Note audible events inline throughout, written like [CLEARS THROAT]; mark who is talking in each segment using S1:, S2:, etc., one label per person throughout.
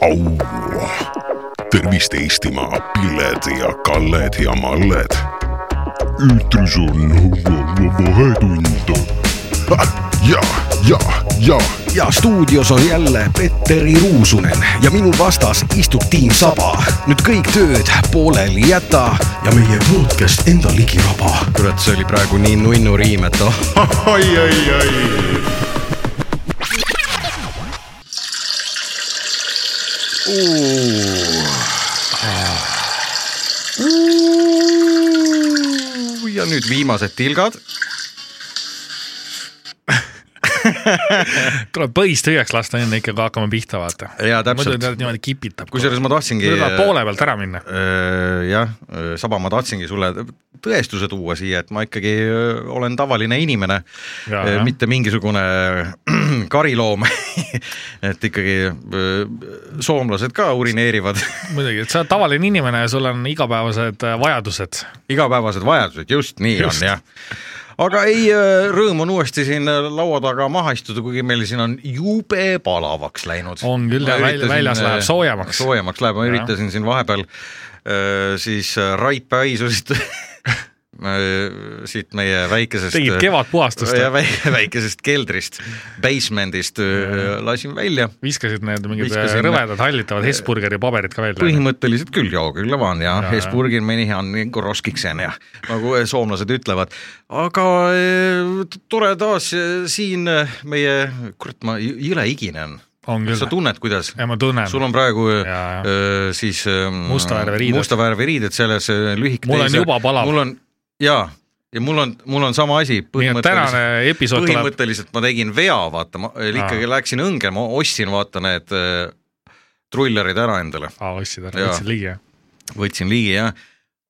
S1: aua . tervist , Eestimaa , Pilled ja Kalled ja Malled . eetris on Vahetund . [LAUGHS] ja , ja , ja
S2: ja stuudios on jälle Petteri Ruusunen ja minu vastas istub tiim Saba . nüüd kõik tööd pooleli jäta ja meie podcast enda ligiraba . kurat , see oli praegu nii nunnu riim , et oh .
S1: ai , ai , ai .
S2: ja nüüd viimased tilgad .
S3: tuleb põis tühjaks lasta enne ikka , kui hakkame pihta , vaata .
S4: Jaa, täpselt.
S3: muidu ta niimoodi kipitab .
S4: kusjuures ma tahtsingi .
S3: tahad poole pealt ära minna .
S4: Öö, Äh, jah , Saba , ma tahtsingi sulle tõestuse tuua siia , et ma ikkagi öö, olen tavaline inimene
S3: Jaa, jah. ,
S4: mitte mingisugune [CLEARS THROAT] kariloom . [LAUGHS] et ikkagi öö, soomlased ka urineerivad [LAUGHS]
S3: muidugi , et sa oled tavaline inimene ja sul on igapäevased äh, vajadused .
S4: igapäevased vajadused , just nii
S3: Just.
S4: just. on jah . aga ei , rõõm on uuesti siin öö, laua taga maha istuda , kuigi meil siin on jube palavaks läinud .
S3: On küll, ja väl- väljas läheb soojemaks.
S4: soojemaks läheb , ma
S3: Jah.
S4: üritasin siin vahepeal öö, siis öö, [LAUGHS]
S3: [LAUGHS]
S4: raipehaisusid siit meie väikesest .
S3: tegid kevadpuhastust ,
S4: äh, ja väi- [LAUGHS] väikesest keldrist , basement'ist öö, lasin välja
S3: viskasid need mingid
S4: Viskasin-
S3: äh, rõvedad hallitavad Hesburgeri paberid ka välja .
S4: põhimõtteliselt küll , joo , kyllä vaan ja,
S3: Ja,
S4: ja Hesburgin meni ihan niinku roskikseen ja [LAUGHS] nagu soomlased ütlevad . aga eh, t- tore taas eh, siin eh, meie , kurat , ma j- jõle higine on .
S3: on
S4: sa
S3: küll .
S4: tunned , kuidas ?
S3: ja ma tunnen .
S4: sul on praegu eh,
S3: Ja, ja.
S4: eh, siis eh,
S3: Musta värvi riided.
S4: musta värvi riided seljas , lühike
S3: Mul on juba palav.
S4: mul on jaa , ja mul on , mul on sama asi .
S3: nii et tänane episood tuleb ,
S4: põhimõtteliselt ma tegin vea , vaata , ma ikkagi läksin õnge , ma ostsin , vaata need eh, trullerid ära endale ,
S3: aa , ostsid ära ,
S4: Jaa.
S3: võtsid ligi ,
S4: võtsin ligi jah ,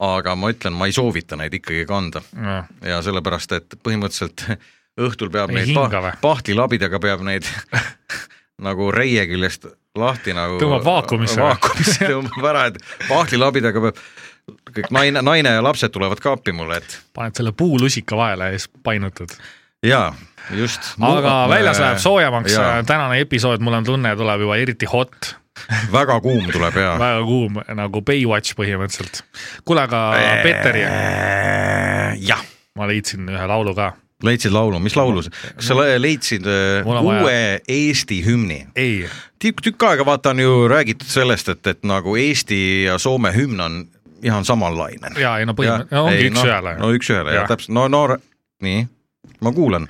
S4: aga ma ütlen , ma ei soovita neid ikkagi kanda
S3: jah .
S4: ja sellepärast , et põhimõtteliselt [LAUGHS] õhtul peab
S3: Ei
S4: neid
S3: hinga
S4: pa
S3: või?
S4: pahtilabidega peab
S3: [LAUGHS]
S4: neid nagu reie küljest lahti nagu
S3: Tõmbab vaakumisse või?
S4: vaakumisse tõmbab ära , et pahtilabidega peab , kõik naine , naine ja lapsed tulevad ka appi mulle , et
S3: paned selle puulusika vahele ja siis painutad .
S4: jaa , just .
S3: aga väljas läheb soojemaks
S4: jaa. ,
S3: tänane episood , mul on tunne , tuleb juba eriti hot ,
S4: väga kuum tuleb ja .
S3: väga kuum nagu Baywatch põhimõtteliselt . kuule , aga
S4: Äh.
S3: Petteri ,
S4: jah ,
S3: ma leidsin ühe laulu ka .
S4: leidsid laulu , mis laulu see , kas sa le- leidsid eh,
S3: Mul on vaja-
S4: uue Eesti hümni ?
S3: ei ,
S4: tükk , tükk aega vaata on ju räägitud sellest , et , et nagu Eesti ja Soome hümn on ihan samanlainen .
S3: ja ei no põhimõtteliselt , no ongi üks-ühele
S4: noh, no üks-ühele
S3: Jah.
S4: ja täpselt , no noor , nii , ma kuulan .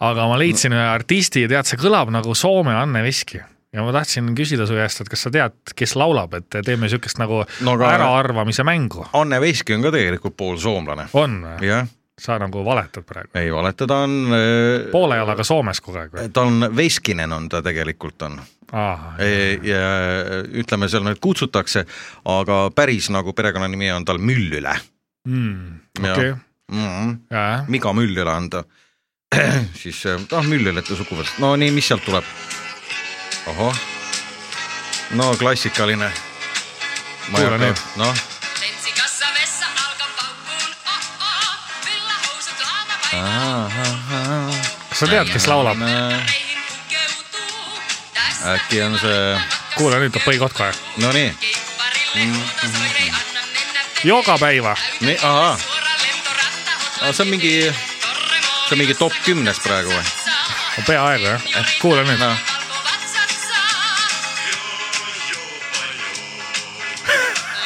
S3: aga ma leidsin ühe artisti , tead , see kõlab nagu Soome Anne Veski ja ma tahtsin küsida su käest , et kas sa tead , kes laulab , et teeme siukest nagu
S4: No aga-
S3: äraarvamise mängu .
S4: Anne Veski on ka tegelikult poolsoomlane .
S3: on ,
S4: jah ,
S3: sa nagu valetad praegu ,
S4: ei valeta , ta on ,
S3: poole jalaga Soomes kogu aeg või ?
S4: ta on Veskinen on ta tegelikult on E- ja ütleme , seal neid kutsutakse , aga päris nagu perekonnanimi on tal Müllüle
S3: okei ,
S4: mm . -hmm.
S3: jajah ,
S4: Miga Müllüle on ta , [CLEARS THROAT] siis eh, ah Müllülete suguvõsast , no nii , mis sealt tuleb ? ohoh , no klassikaline .
S3: Kuule nüüd.
S4: noh ,
S5: Tentsikassa vessa alkan paukkuun, oh oh, villahousut
S4: Ah.
S5: laanapainaa.
S3: kas sa tead , kes laulab ?
S5: Meihin pukeutuu, tässä
S4: äkki on see ,
S3: kuule , nüüd tuleb põhikotka .
S4: nonii ,
S5: keikkuparille
S4: Mm.
S5: lunasoin, ei anna mennä veke.
S3: joka päiva ,
S4: nii , ahaa ,
S5: Suora lentoranta hotla
S4: see on mingi ,
S5: torremoon.
S4: see on mingi top kümnes praegu või ?
S3: peaaegu jah , kuule nüüd ,
S4: noh , [LAUGHS]
S5: Valkovatsatsaa.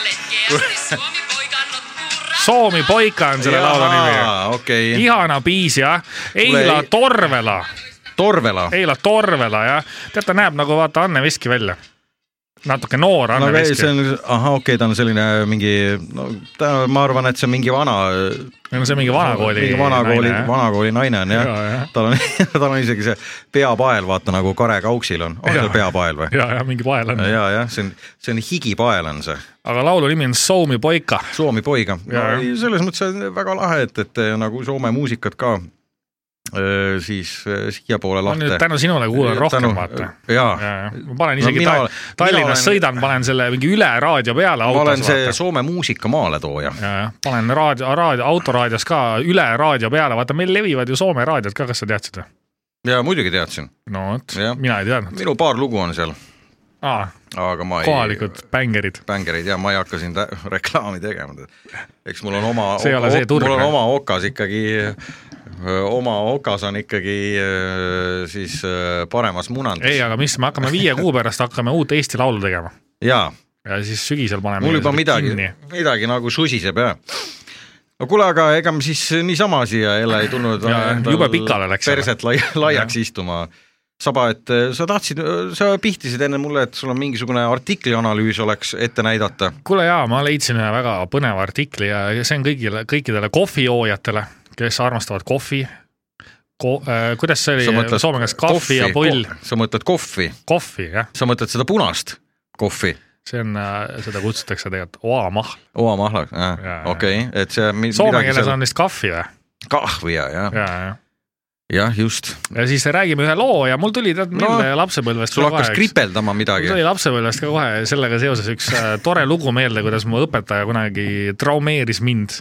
S5: Letkeästi Suomi poika notkuu ra-
S3: Soomi poika on selle laulu nimi .
S4: okei okay. ,
S3: ihana biis jah , Eila
S4: Kuule, ei-
S3: Torvela
S4: Torvela .
S3: Eila Torvela jah , tead ta näeb nagu vaata Anne Veski välja . natuke noor
S4: no
S3: Anne
S4: aga ei ,
S3: Veski
S4: see . on , ahah , okei okay, , ta on selline mingi , no ta , ma arvan , et see on mingi vana .
S3: ei no see on mingi vanakooli .
S4: mingi vanakooli , vanakooli naine on jah
S3: Jaa, jah. .
S4: tal on , [LAUGHS] tal on isegi see peapael , vaata nagu Kare Kauksil on , on
S3: Jaa.
S4: tal peapael või ?
S3: ja , ja mingi vael on ,
S4: ja , jah , see on , see on higipael on see ,
S3: aga laulu nimi on Soomi poika .
S4: Soomi poiga . no
S3: Jaa.
S4: ei, selles mõttes on väga lahe , et , et nagu Soome muusikat ka öö, siis öö, siiapoole
S3: ma nüüd
S4: lahte .
S3: tänu sinule kuulan rohkem vaata .
S4: jaa ,
S3: Ja, ja. ma panen
S4: No
S3: isegi
S4: mina
S3: no,
S4: olen-
S3: ta Tallinnas
S4: mina
S3: olen...
S4: olen-
S3: sõidan , panen selle mingi üle raadio peale
S4: ma olen
S3: autos
S4: see
S3: vaata .
S4: Soome muusika maaletooja .
S3: ja , jah , panen raadio , raadio , autoraadios ka üle raadio peale , vaata meil levivad ju Soome raadiod ka , kas sa teadsid või ?
S4: ja muidugi teadsin ,
S3: no vot
S4: Jah. ,
S3: mina ei teadnud .
S4: minu paar lugu on seal
S3: aa ,
S4: aga ma
S3: kohalikud
S4: äh,
S3: bängerid .
S4: bängereid ja ma ei hakka siin tä- [LAUGHS] reklaami tegema , eks mul on oma ,
S3: See ei ole see turg,
S4: mul on
S3: jah.
S4: oma okas ikkagi , oma okas on ikkagi öö, siis öö, paremas munandis
S3: ei , aga mis , me hakkame viie kuu pärast hakkame uut Eesti Laulu tegema
S4: jaa
S3: ja siis sügisel paneme
S4: mul juba
S3: selle
S4: midagi
S3: kinni. ,
S4: midagi nagu susiseb jah . no kuule , aga ega me siis niisama siia jälle ei tulnud
S3: Jaa, jah, . jube pikale läks
S4: perset lai- , laiaks istuma . Saba , et äh, sa tahtsid , sa pihtisid enne mulle , et sul on mingisugune artikli analüüs oleks ette näidata .
S3: kuule jaa , ma leidsin ühe väga põneva artikli ja ja see on kõigile , kõikidele kohvijoojatele , kes armastavad kohvi Ko . Äh, kuidas see oli soome keeles , kahvi ja pull ,.
S4: sa mõtled kohvi ,
S3: kohvi jah ,
S4: sa mõtled seda punast kohvi ,
S3: see on , seda kutsutakse tegelikult oamahl .
S4: oamahla ,
S3: Jaa,
S4: okei , et see mi-
S3: Soome
S4: midagi
S3: keeles
S4: seal
S3: on vist kahvi või ?
S4: kahvi ja , ja ,
S3: ja , ja ,
S4: jah just .
S3: ja siis räägime ühe loo ja mul tuli tead mille no, lapsepõlvest
S4: sul
S3: ka
S4: hakkas
S3: kohe üks-
S4: kripeldama midagi
S3: mul . tuli lapsepõlvest ka kohe sellega seoses üks äh, tore lugu meelde , kuidas mu õpetaja kunagi traumeeris mind .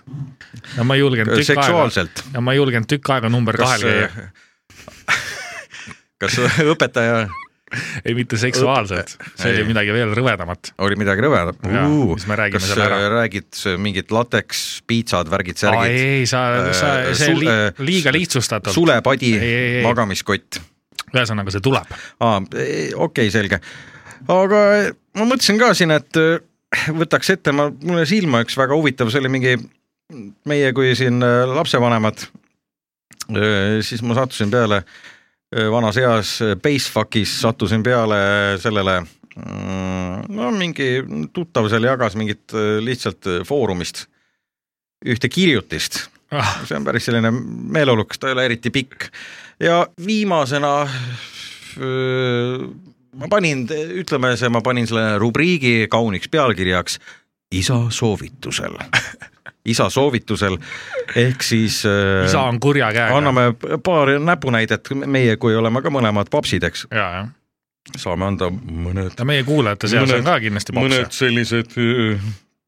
S3: ja ma ei julgenud tükk aega ,
S4: seksuaalselt . äh,
S3: ja ma ei julgenud tükk aega number kahel käia ,
S4: [LAUGHS] kas õpetaja
S3: ei mitte seksuaalselt , see
S4: Ei.
S3: oli midagi veel rõvedamat .
S4: oli midagi rõvedat
S3: Jaa, siis me räägime
S4: kas
S3: selle ära.
S4: äh, räägid sa mingit lateks , piitsad , värgid , särgid ,
S3: ei , sa , sa ,
S4: Äh,
S3: see
S4: su-
S3: li,
S4: äh,
S3: liiga lihtsustatult ,
S4: sulepadi
S3: Ei, ei, ei. ,
S4: magamiskott
S3: ühesõnaga see tuleb .
S4: ah, . okei okay, , selge . aga ma mõtlesin ka siin , et äh, võtaks ette , ma , mulle silma üks väga huvitav , see oli mingi meie kui siin äh, lapsevanemad , siis ma sattusin peale äh, vanas eas äh, Basefuckis sattusin peale sellele mm, no mingi tuttav seal jagas mingit äh, lihtsalt äh, foorumist ühte kirjutist
S3: Ah,
S4: see on päris selline meeleolukas , ta ei ole eriti pikk ja viimasena öö, ma panin , ütleme see , ma panin selle rubriigi kauniks pealkirjaks isa soovitusel , [LAUGHS] isa soovitusel ehk siis öö,
S3: isa on kurja käega .
S4: Äh, anname paar näpunäidet , meie kui oleme ka mõlemad papsid , eks ,
S3: ja , ja ,
S4: saame anda mõned
S3: ja meie kuulajate seas
S4: Mõned-
S3: on ka kindlasti
S4: mõned
S3: paps .
S4: sellised
S3: eh,
S4: öö,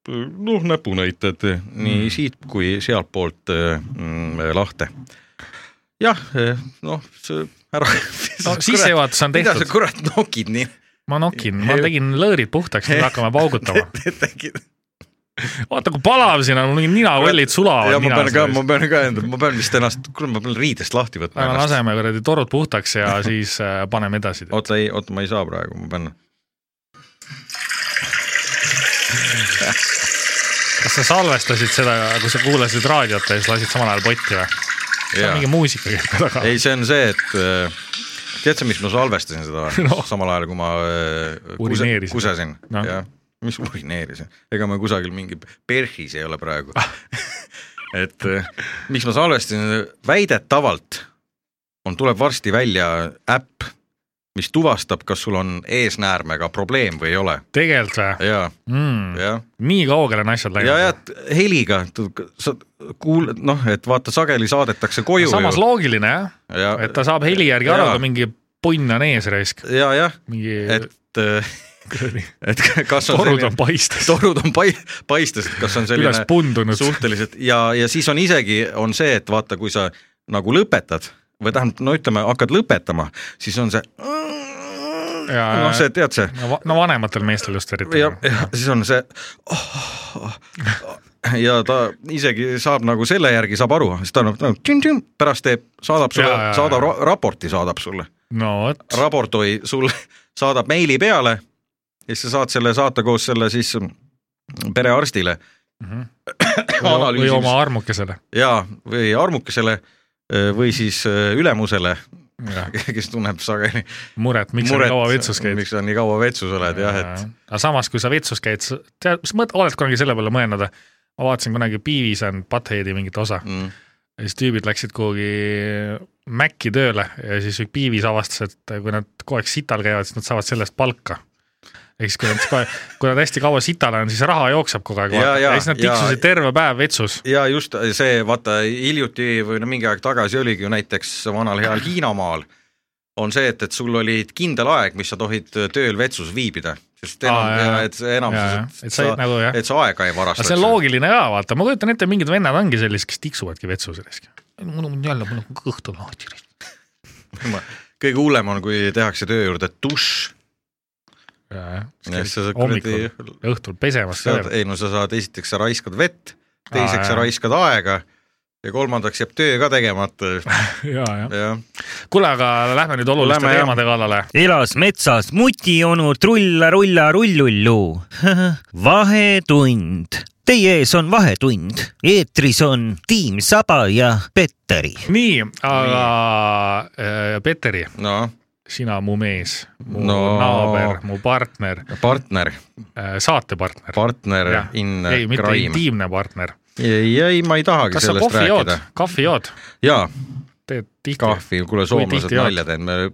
S4: noh , näpunäited nii mm. siit kui sealtpoolt öö, mm, lahte . jah , noh , see ära [LAUGHS]
S3: no sissejuhatus on
S4: mida sa
S3: tehtud ,
S4: kurat nokid
S3: [LAUGHS]
S4: nii [LAUGHS]
S3: ma nokin , ma tegin lõõrid puhtaks , nüüd hakkame paugutama .
S4: tegid ?
S3: vaata , kui palav siin on , mul mingi ninavollid sulavad .
S4: ja ma pean ka , ma pean ka enda , ma pean vist ennast , kuule , ma pean riidest lahti võtma
S3: aga
S4: ennast .
S3: laseme kuradi torud puhtaks ja
S4: [LAUGHS]
S3: siis äh, paneme edasi .
S4: oota , ei , oota , ma ei saa praegu , ma pean ,
S3: kas sa salvestasid seda , kui sa kuulasid raadiot ja siis lasid samal ajal potti või ? seal
S4: jaa
S3: mingi . muusika käib ka taga .
S4: ei , see on see , et öö, tead sa , mis ma salvestasin seda no.
S3: [LAUGHS] No.
S4: samal ajal , kui ma öö, kuse,
S3: Urineerisid.
S4: kusesin no.
S3: Noh. ,
S4: jah . mis ma urineerisin , ega ma kusagil mingi perhis ei ole praegu .
S3: Ah.
S4: [LAUGHS] et öö, miks ma salvestasin , väidetavalt on , tuleb varsti välja äpp , mis tuvastab , kas sul on eesnäärmega probleem või ei ole
S3: tegelikult või ?
S4: ja ,
S3: mm, .
S4: ja ,
S3: nii kaugele on asjad
S4: ja , ja
S3: läinud .
S4: et heliga , sa kuuled , noh , et vaata , sageli saadetakse koju
S3: samas
S4: ju
S3: loogiline jah ,
S4: ja ,
S3: et ta saab heli järgi aru
S4: Jaa. ,
S3: kui mingi punn on ees raisk ,
S4: ja , jah ,
S3: mingi
S4: et
S3: [LAUGHS]
S4: öö,
S3: kuradi
S4: [LAUGHS] et kas on
S3: torud
S4: selline,
S3: on paistes ,
S4: torud on pai- , paistes , et kas on
S3: üles
S4: selline
S3: pundunud .
S4: suhteliselt ja , ja siis on isegi , on see , et vaata , kui sa nagu lõpetad või tähendab , no ütleme , hakkad lõpetama , siis on see
S3: Jaa,
S4: noh , see tead see
S3: no vanematel meestel just eriti
S4: ja , ja siis on see ja ta isegi saab nagu selle järgi saab aru , siis ta nagu tšin-tšin, pärast teeb , saadab
S3: Jaa, jaa,
S4: sulle ,
S3: jaa.
S4: saadab ra- raporti , saadab sulle ,
S3: no vot ,
S4: raportoi sulle saadab meili peale ja siis sa saad selle saata koos selle siis perearstile
S3: Mhm. või
S4: analüüsimiseks
S3: oma armukesele .
S4: ja , või armukesele või siis äh, ülemusele , [LAUGHS] kes tunneb sageli
S3: muret , miks sa
S4: muret
S3: nii kaua vetsus käid .
S4: miks sa nii kaua vetsus oled jah , et .
S3: aga samas , kui sa vetsus käid , sa tead , sa mõt- , oled kunagi selle peale mõelnud , ma vaatasin kunagi Piivis on Buttheadi mingit osa
S4: mm.
S3: ja siis tüübid läksid kuhugi Maci tööle ja siis üks Piivis avastas , et kui nad kogu aeg sital käivad , siis nad saavad selle eest palka . ehk siis kui nad kohe , kui nad hästi kaua sital on , siis raha jookseb kogu aeg
S4: Ja,
S3: vaata.
S4: ja,
S3: ja siis nad
S4: ja.
S3: tiksusid terve päev vetsus .
S4: ja just see , vaata hiljuti või no mingi aeg tagasi oligi ju näiteks vanal heal Hiinamaal on see , et , et sul oli kindel aeg , mis sa tohid tööl vetsus viibida ,
S3: Aa,
S4: sest enam,
S3: jaa, jaa.
S4: et see enamuses ,
S3: Jaa, et sa ei- nagu, jah.
S4: et sa aega ei varasta .
S3: aga see on loogiline ka vaata , ma kujutan ette , mingid vennad ongi sellised , kes tiksuvadki vetsus risk . mul on jälle , mul on kõht on lahti .
S4: kõige hullem on , kui tehakse töö juurde dušš Jah, sa
S3: jajah
S4: saad .
S3: hommikul
S4: kuradi-
S3: ja õhtul pesemas
S4: saad ,
S3: sööb .
S4: ei no sa saad , esiteks sa raiskad vett , teiseks
S3: Aa,
S4: sa
S3: jah.
S4: raiskad aega ja kolmandaks jääb töö ka
S3: [LAUGHS]
S4: tegemata ,
S3: jajah .
S4: jah .
S3: [LAUGHS] kuule , aga lähme nüüd oluliste
S4: Lähme, jah.
S3: teemade kallale .
S6: elas metsas mutionu trulla rulla rullullu . [LAUGHS] vahetund . Teie ees on Vahetund , eetris on Tiim Saba ja Petteri .
S3: nii , aga äh, Peteri ,
S4: no
S3: sina mu mees , mu
S4: No.
S3: naaber , mu partner ,
S4: partner ,
S3: saatepartner .
S4: partner ja. in äh,
S3: ei , mitte
S4: crime .
S3: intiimne partner .
S4: ei , ei , ma ei tahagi
S3: kas sa
S4: sellest
S3: kohvi jood
S4: rääkida .,
S3: kahvi jood ?
S4: jaa ,
S3: teed tihti ?
S4: kahvi , kuule , soomlased
S3: tihti jood?
S4: nalja teevad , me ,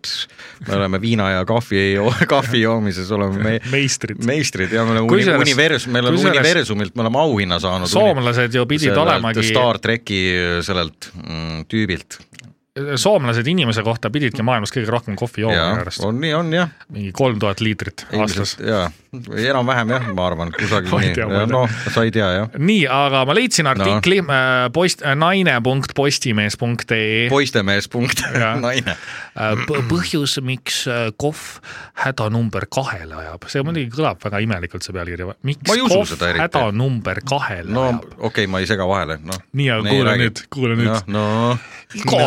S4: me oleme viina ja kahvi joo- , kahvi joomises oleme me
S3: [LAUGHS] meistrid .
S4: meistrid ja me oleme uni,
S3: Kusjuures-
S4: universum , me oleme
S3: kusjuures-
S4: universumilt , me oleme auhinna saanud .
S3: soomlased ju pidid olemagi ,
S4: Star Trek'i sellelt mm, tüübilt
S3: äh, soomlased inimese kohta pididki maailmas kõige rohkem kohvi jooma minu
S4: ja
S3: arust .
S4: on nii , on jah ,
S3: mingi kolm tuhat liitrit aastas
S4: ilmselt . ja enam-vähem jah , ma arvan , kusagil
S3: [LAUGHS] Ma ei
S4: nii
S3: tea, ma ei , tea.
S4: noh , sa ei tea jah ,
S3: nii , aga ma leidsin artikli no. post , äh, naine.postimees.ee
S4: poistemees punkt [LAUGHS]
S3: Jaa.
S4: naine ,
S3: P- Äh, põhjus , miks äh, KOV hädanumber kahele ajab , see muidugi kõlab väga imelikult , see pealkiri , miks
S4: Ma ei usu
S3: KOV
S4: seda eriti.
S3: hädanumber kahele
S4: no
S3: ajab ?
S4: okei okay, , ma ei sega vahele , noh .
S3: nii , aga kuule nüüd , kuule nüüd .
S4: no, . no
S3: iga ,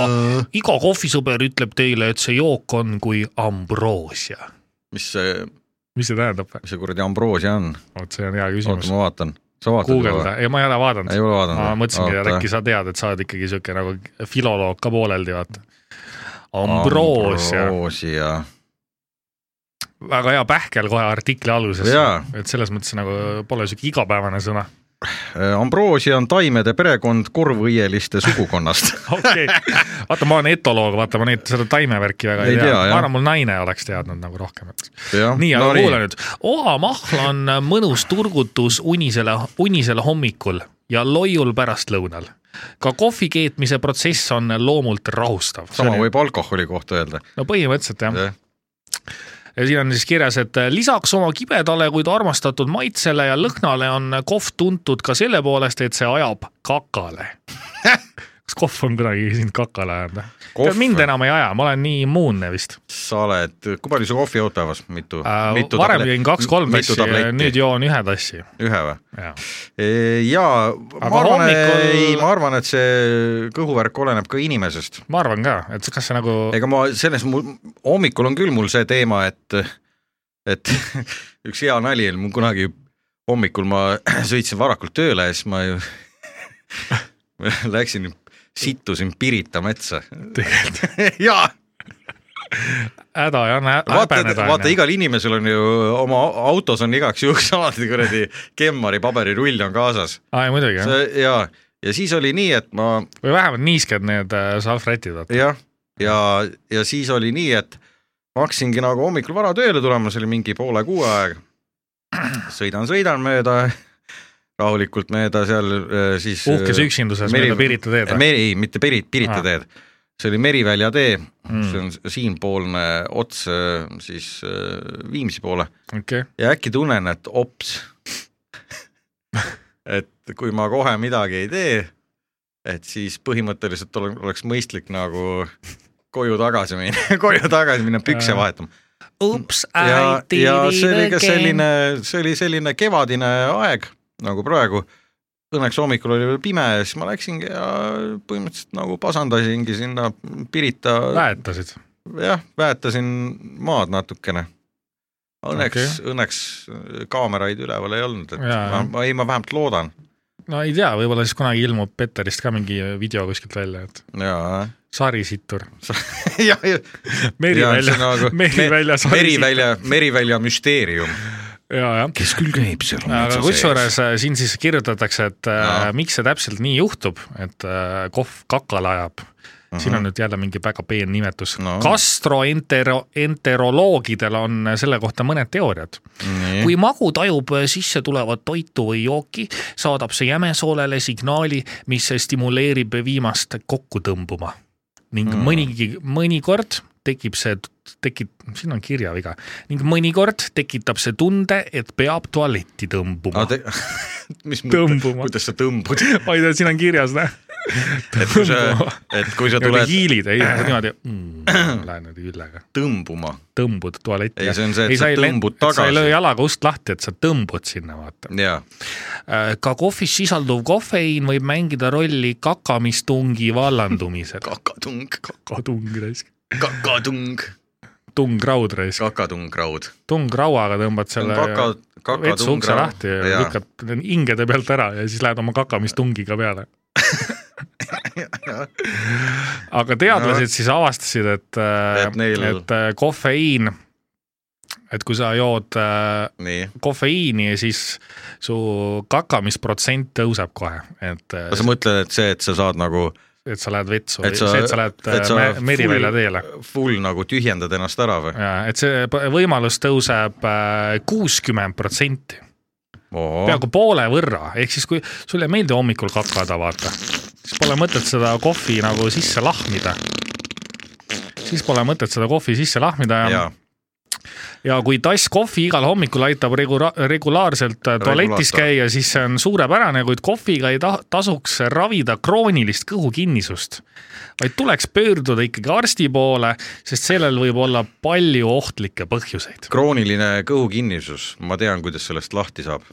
S3: iga kohvisõber ütleb teile , et see jook on kui ambroosia .
S4: mis see ,
S3: mis see tähendab ?
S4: mis see kuradi ambroosia on ,
S3: vot see on hea
S4: oota
S3: küsimus .
S4: ma vaatan , sa vaatad
S3: guugelda , ei ma ei ole vaadanud .
S4: Ei ole vaadanud,
S3: ma
S4: jah?
S3: mõtlesingi , et
S4: Oota.
S3: äkki sa tead , et sa oled ikkagi siuke nagu filoloog ka pooleldi , vaata . ambroosia ,
S4: ambroosia ,
S3: väga hea pähkel kohe artikli alguses
S4: Jaa. .
S3: et selles mõttes nagu pole siuke igapäevane sõna .
S4: Äh, ambroosia on taimede perekond korvõieliste sugukonnast .
S3: okei okay. , vaata , ma olen etoloog , vaata ma neid , seda taimevärki väga ei,
S4: Ei
S3: ei tea,
S4: tea,
S3: tea ,
S4: jah.
S3: ma arvan , mul naine oleks teadnud nagu rohkem , et
S4: jah
S3: [LAUGHS] nii , aga kuule nüüd , oamahl on mõnus turgutus unisele , unisel hommikul ja loiul pärastlõunal . ka kohvi keetmise protsess on loomult rahustav .
S4: sama võib alkoholi kohta öelda .
S3: no põhimõtteliselt jah . ja siin on siis kirjas , et "Äh, lisaks oma kibedale , kuid armastatud maitsele ja lõhnale on äh, kohv tuntud ka selle poolest , et see ajab kakale . [LAUGHS] kas kohv on kunagi sind kakale ajanud
S4: Kohv
S3: või ? mind
S4: või?
S3: enam ei aja , ma olen nii immuunne vist .
S4: sa oled , kui palju sa kohvi jood päevas , mitu
S3: Äh, ?
S4: mitu
S3: varem
S4: tablet-
S3: jõin kaks-kolm
S4: mitu
S3: tassi ,
S4: tabletti?
S3: nüüd joon ühe tassi .
S4: ühe või ?
S3: jah
S4: jaa , ma
S3: Aga
S4: arvan ,
S3: hommikul-
S4: ei , ma arvan , et see kõhuvärk oleneb ka inimesest .
S3: ma arvan ka , et see- kas see nagu
S4: ega ma selles , hommikul on küll mul see teema , et , et [LAUGHS] üks hea nali oli mul kunagi hommikul ma [CLEARS THROAT] sõitsin varakult tööle ja siis ma ju [LAUGHS] läksin , sittusin Pirita metsa . [LAUGHS] jaa
S3: häda ei anna hä-
S4: vaata ,
S3: häbeneda .
S4: vaata . igal inimesel on ju oma autos on igaks juhuks [LAUGHS] alati kuradi kemmari paberirull on kaasas
S3: aa , ei muidugi jah ,
S4: see, ja , ja siis oli nii , et ma
S3: või vähemalt niisked need äh, salvrätid , vaata .
S4: jah , ja , ja siis oli nii , et ma hakkasingi nagu hommikul vara tööle tulema , see oli mingi poole kuue aeg . sõidan , sõidan mööda , rahulikult mööda seal eh, siis .
S3: uhkes üksinduses
S4: Meri-
S3: mööda Pirita teed .
S4: Meri , mitte Pirit , Pirita
S3: Aa.
S4: ah. teed . see oli Merivälja tee
S3: Mm.
S4: mm. , see on siinpoolne ots eh, siis eh, Viimsi poole
S3: okei ,
S4: ja äkki tunnen , et ops . et kui ma kohe midagi ei tee , et siis põhimõtteliselt ole- oleks mõistlik nagu koju tagasi minna , [LAUGHS] koju tagasi minna pükse vahetama .
S5: Oops,
S4: ja , ja see oli ka selline , see oli selline kevadine aeg nagu praegu . Õnneks hommikul oli veel pime ja siis ma läksingi ja põhimõtteliselt nagu pasandasingi sinna Pirita ,
S3: väetasid .
S4: jah , väetasin maad natukene . Õnneks okay. , õnneks äh, kaameraid üleval ei olnud , et
S3: Jaa,
S4: ma,
S3: jah.
S4: ma ei , ma vähemalt loodan
S3: no ei tea , võib-olla siis kunagi ilmub Peterist ka mingi video kuskilt välja , et
S4: ja ,
S3: sarisittur .
S4: [LAUGHS] ja , ja .
S3: merivälja , merivälja sarisittur .
S4: nagu merivälja , merivälja müsteerium .
S3: ja , jah .
S4: kes küll käib seal
S3: aga kusjuures äh, siin siis kirjutatakse , et no.
S4: Jaa.
S3: miks see täpselt nii juhtub , et äh, kohv kakale ajab uh . -huh. siin on nüüd jälle mingi väga peen nimetus no.
S4: Mhm. No. .
S3: gastroenteroloogidel on selle kohta mõned teooriad . kui magu tajub eh, sisse tulevat toitu või jooki , saadab see jämesoolele signaali , mis
S4: Hmm.
S3: stimuleerib viimast kokku tõmbuma ning mm. mõnigi , mõnikord tekib see tekit- , siin on kirjaviga ning mõnikord tekitab see tunde , et peab tualetti tõmbuma .
S4: te... [LAUGHS] mis
S3: Tõmbuma.
S4: kuidas sa tõmbud ,
S3: [LAUGHS] ma ei tea , siin on kirjas , näe .
S4: et kui sa , et kui sa tuled
S3: hiilid ,
S4: [CLEARS THROAT]
S3: ei , niimoodi mm, , lähen nüüd hüllega ,
S4: tõmbuma ,
S3: tõmbud tualetti .
S4: Ei, see on see, et sa tõmbud
S3: sa ei
S4: tagasi.
S3: löö jalaga ust lahti , et sa tõmbud sinna , vaata .
S4: jaa .
S3: Äh, ka kohvis sisalduv kofeiin võib mängida rolli kakamistungi vallandumisel .
S4: [LAUGHS] kakatung ,
S3: kakatung raisk ,
S4: kakatung ,
S3: tungraud raisk ,
S4: kakatungraud .
S3: tungrauaga tõmbad selle
S4: kaka ,
S3: vetsu ukse
S4: kakatungraud
S3: lahti ja lükkad hingede pealt ära ja siis lähed oma kakamistungiga peale . aga teadlased siis avastasid , et ,
S4: Et neil-
S3: et äh, kofeiin , et kui sa jood äh,
S4: nii ,
S3: kofeiini , siis su kakamisprotsent tõuseb kohe , et , äh,
S4: sa mõtled , et see , et sa saad nagu
S3: et sa lähed vetsu ,
S4: et sa-
S3: see , et sa lähed
S4: et sa
S3: äh, me- merivälja
S4: full-
S3: teele .
S4: full nagu tühjendad ennast ära või ?
S3: ja et see p- võimalus tõuseb äh, kuuskümmend protsenti peaaegu poole võrra , ehk siis kui sulle ei meeldi hommikul kakada , vaata , siis pole mõtet seda kohvi nagu sisse lahmida . siis pole mõtet seda kohvi sisse lahmida ja,
S4: jaa ,
S3: ja. ja kui tass kohvi igal hommikul aitab regula- , regulaarselt äh, tualetis
S4: Regulaator.
S3: käia , siis see on suurepärane , kuid kohviga ei ta- , tasuks ravida kroonilist kõhukinnisust . vaid tuleks pöörduda ikkagi arsti poole , sest sellel võib olla palju ohtlikke põhjuseid .
S4: krooniline kõhukinnisus , ma tean , kuidas sellest lahti saab .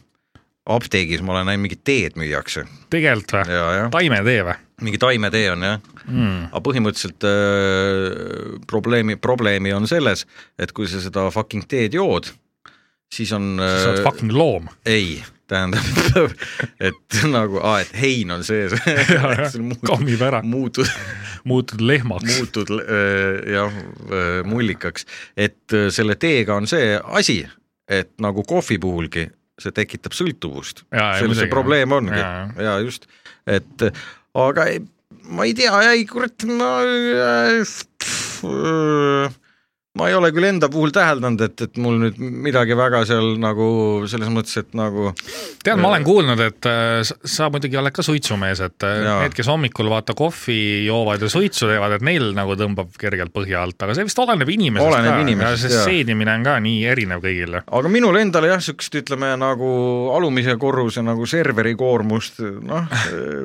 S4: apteegis ma olen näinud , mingit teed müüakse
S3: tegelikult või ?
S4: ja , jah ,
S3: taimetee või
S4: mingi taimetee on jah ,
S3: mm. ?
S4: aga põhimõtteliselt äh, probleemi , probleemi on selles , et kui sa seda fucking teed jood , siis on
S3: sa oled
S4: äh,
S3: fucking
S4: [LAUGHS]
S3: loom .
S4: ei , tähendab , [LAUGHS] et nagu , et hein on
S3: [LAUGHS]
S4: sees [LAUGHS]
S3: jah. , kammib ära ,
S4: muutud ,
S3: muutud lehmaks .
S4: muutud äh, jah äh, mullikaks , et äh, selle teega on see asi , et nagu kohvi puhulgi , see tekitab sõltuvust .
S3: Jaa, jaa,
S4: selles see
S3: muidugi,
S4: probleem
S3: jah.
S4: ongi
S3: Jaa, ,
S4: ja just , et äh, aga ei, ma ei tea , ei kurat , ma äh, ma ei ole küll enda puhul täheldanud , et , et mul nüüd midagi väga seal nagu selles mõttes , et nagu
S3: tead , ma olen kuulnud , et äh, sa- sa muidugi oled ka suitsumees , et äh,
S4: Jaa.
S3: need , kes hommikul vaata kohvi joovad ja suitsu teevad , et neil nagu tõmbab kergelt põhja alt , aga see vist oleneb inimesest
S4: Oleneb
S3: ka .
S4: inimesest,
S3: sest
S4: jaa.
S3: seedimine on ka nii erinev kõigile .
S4: aga minul endal jah , niisugust ütleme nagu alumise korruse nagu serveri koormust , noh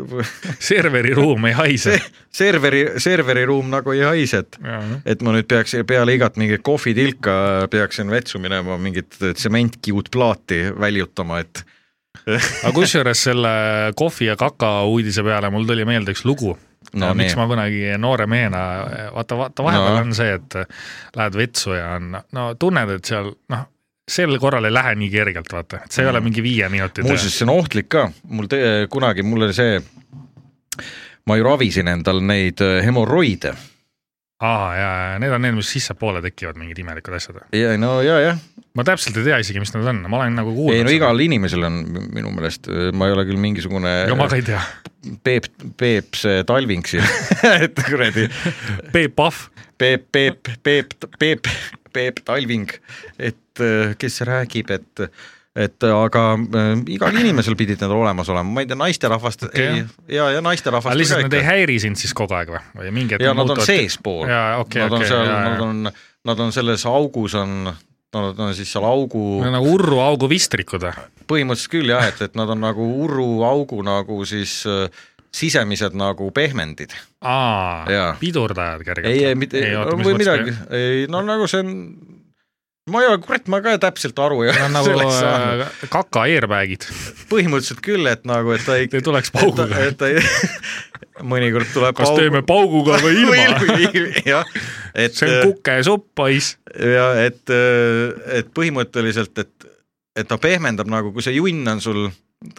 S3: [LAUGHS] serveriruum ei haise .
S4: serveri , serveriruum nagu ei haise , et et ma nüüd peaks peale igat mingit kohvitilka peaksin vetsu minema mingit tsementkiud plaati väljutama , et
S3: aga kusjuures selle kohvi ja kaka uudise peale mul tuli meelde üks lugu
S4: No
S3: no, . miks
S4: nii.
S3: ma kunagi noore mehena , vaata , vaata vahepeal
S4: No.
S3: no. on see , et äh, lähed vetsu ja on , no tunned , et seal noh , sel korral ei lähe nii kergelt , vaata , et see ei ole mingi viie minuti töö .
S4: Mm. muuseas , see on ohtlik ka , mul te, kunagi , mul oli see , ma ju ravisin endal neid äh, hemoroide
S3: aa ja , ja need on need , mis sissepoole tekivad mingid imelikud asjad .
S4: ja no ja , jah ,
S3: ma täpselt ei tea isegi , mis need on , ma olen nagu kuulnud .
S4: ei no igal inimesel on minu meelest , ma ei ole küll mingisugune
S3: ja ma ka ei tea ,
S4: Peep , Peep see Talving siin , [LAUGHS] et kuradi
S3: Peep Pahv ,
S4: Peep , Peep , Peep , Peep , Peep Talving , et äh, kes räägib , et et aga äh, igal inimesel pidid need olemas olema , ma ei tea , naisterahvast okay. ei
S3: jah. ,
S4: ja , ja
S3: aga
S4: naisterahvast
S3: lihtsalt nad ei häiri sind siis kogu aeg või , või mingi hetk
S4: ja nad on
S3: muutuvad-
S4: seespool ,
S3: Jaa, okei,
S4: nad on
S3: okei,
S4: seal ,
S3: jaa,
S4: nad
S3: jaa.
S4: on , nad on selles augus on , nad on siis seal augu
S3: Nad on nagu Urru augu vistrikud või ?
S4: põhimõtteliselt küll jah , et , et nad on nagu uruaugu nagu siis äh, sisemised nagu pehmendid .
S3: aa
S4: Jaa. ,
S3: pidurdajad kergelt .
S4: ei , ei mitte , või midagi . [LAUGHS]
S3: Nad ,
S4: ei no nagu see on , ma ei ole , kurat , ma ka täpselt aru ei
S3: on
S4: ole [LAUGHS]
S3: nagu
S4: sellest saanud .
S3: äh, kaka airbag'id ,
S4: põhimõtteliselt küll , et nagu , et ta ei ,
S3: ei tuleks
S4: et ta ,
S3: pauguga .
S4: et ta ei , [LAUGHS] mõnikord tuleb
S3: kas teeme pauguga
S4: [LAUGHS]
S3: või ilma ?
S4: ilma ? jah , et ,
S3: see on kukesupp , poiss .
S4: ja et , et põhimõtteliselt , et , et ta pehmendab nagu , kui see junn on sul ,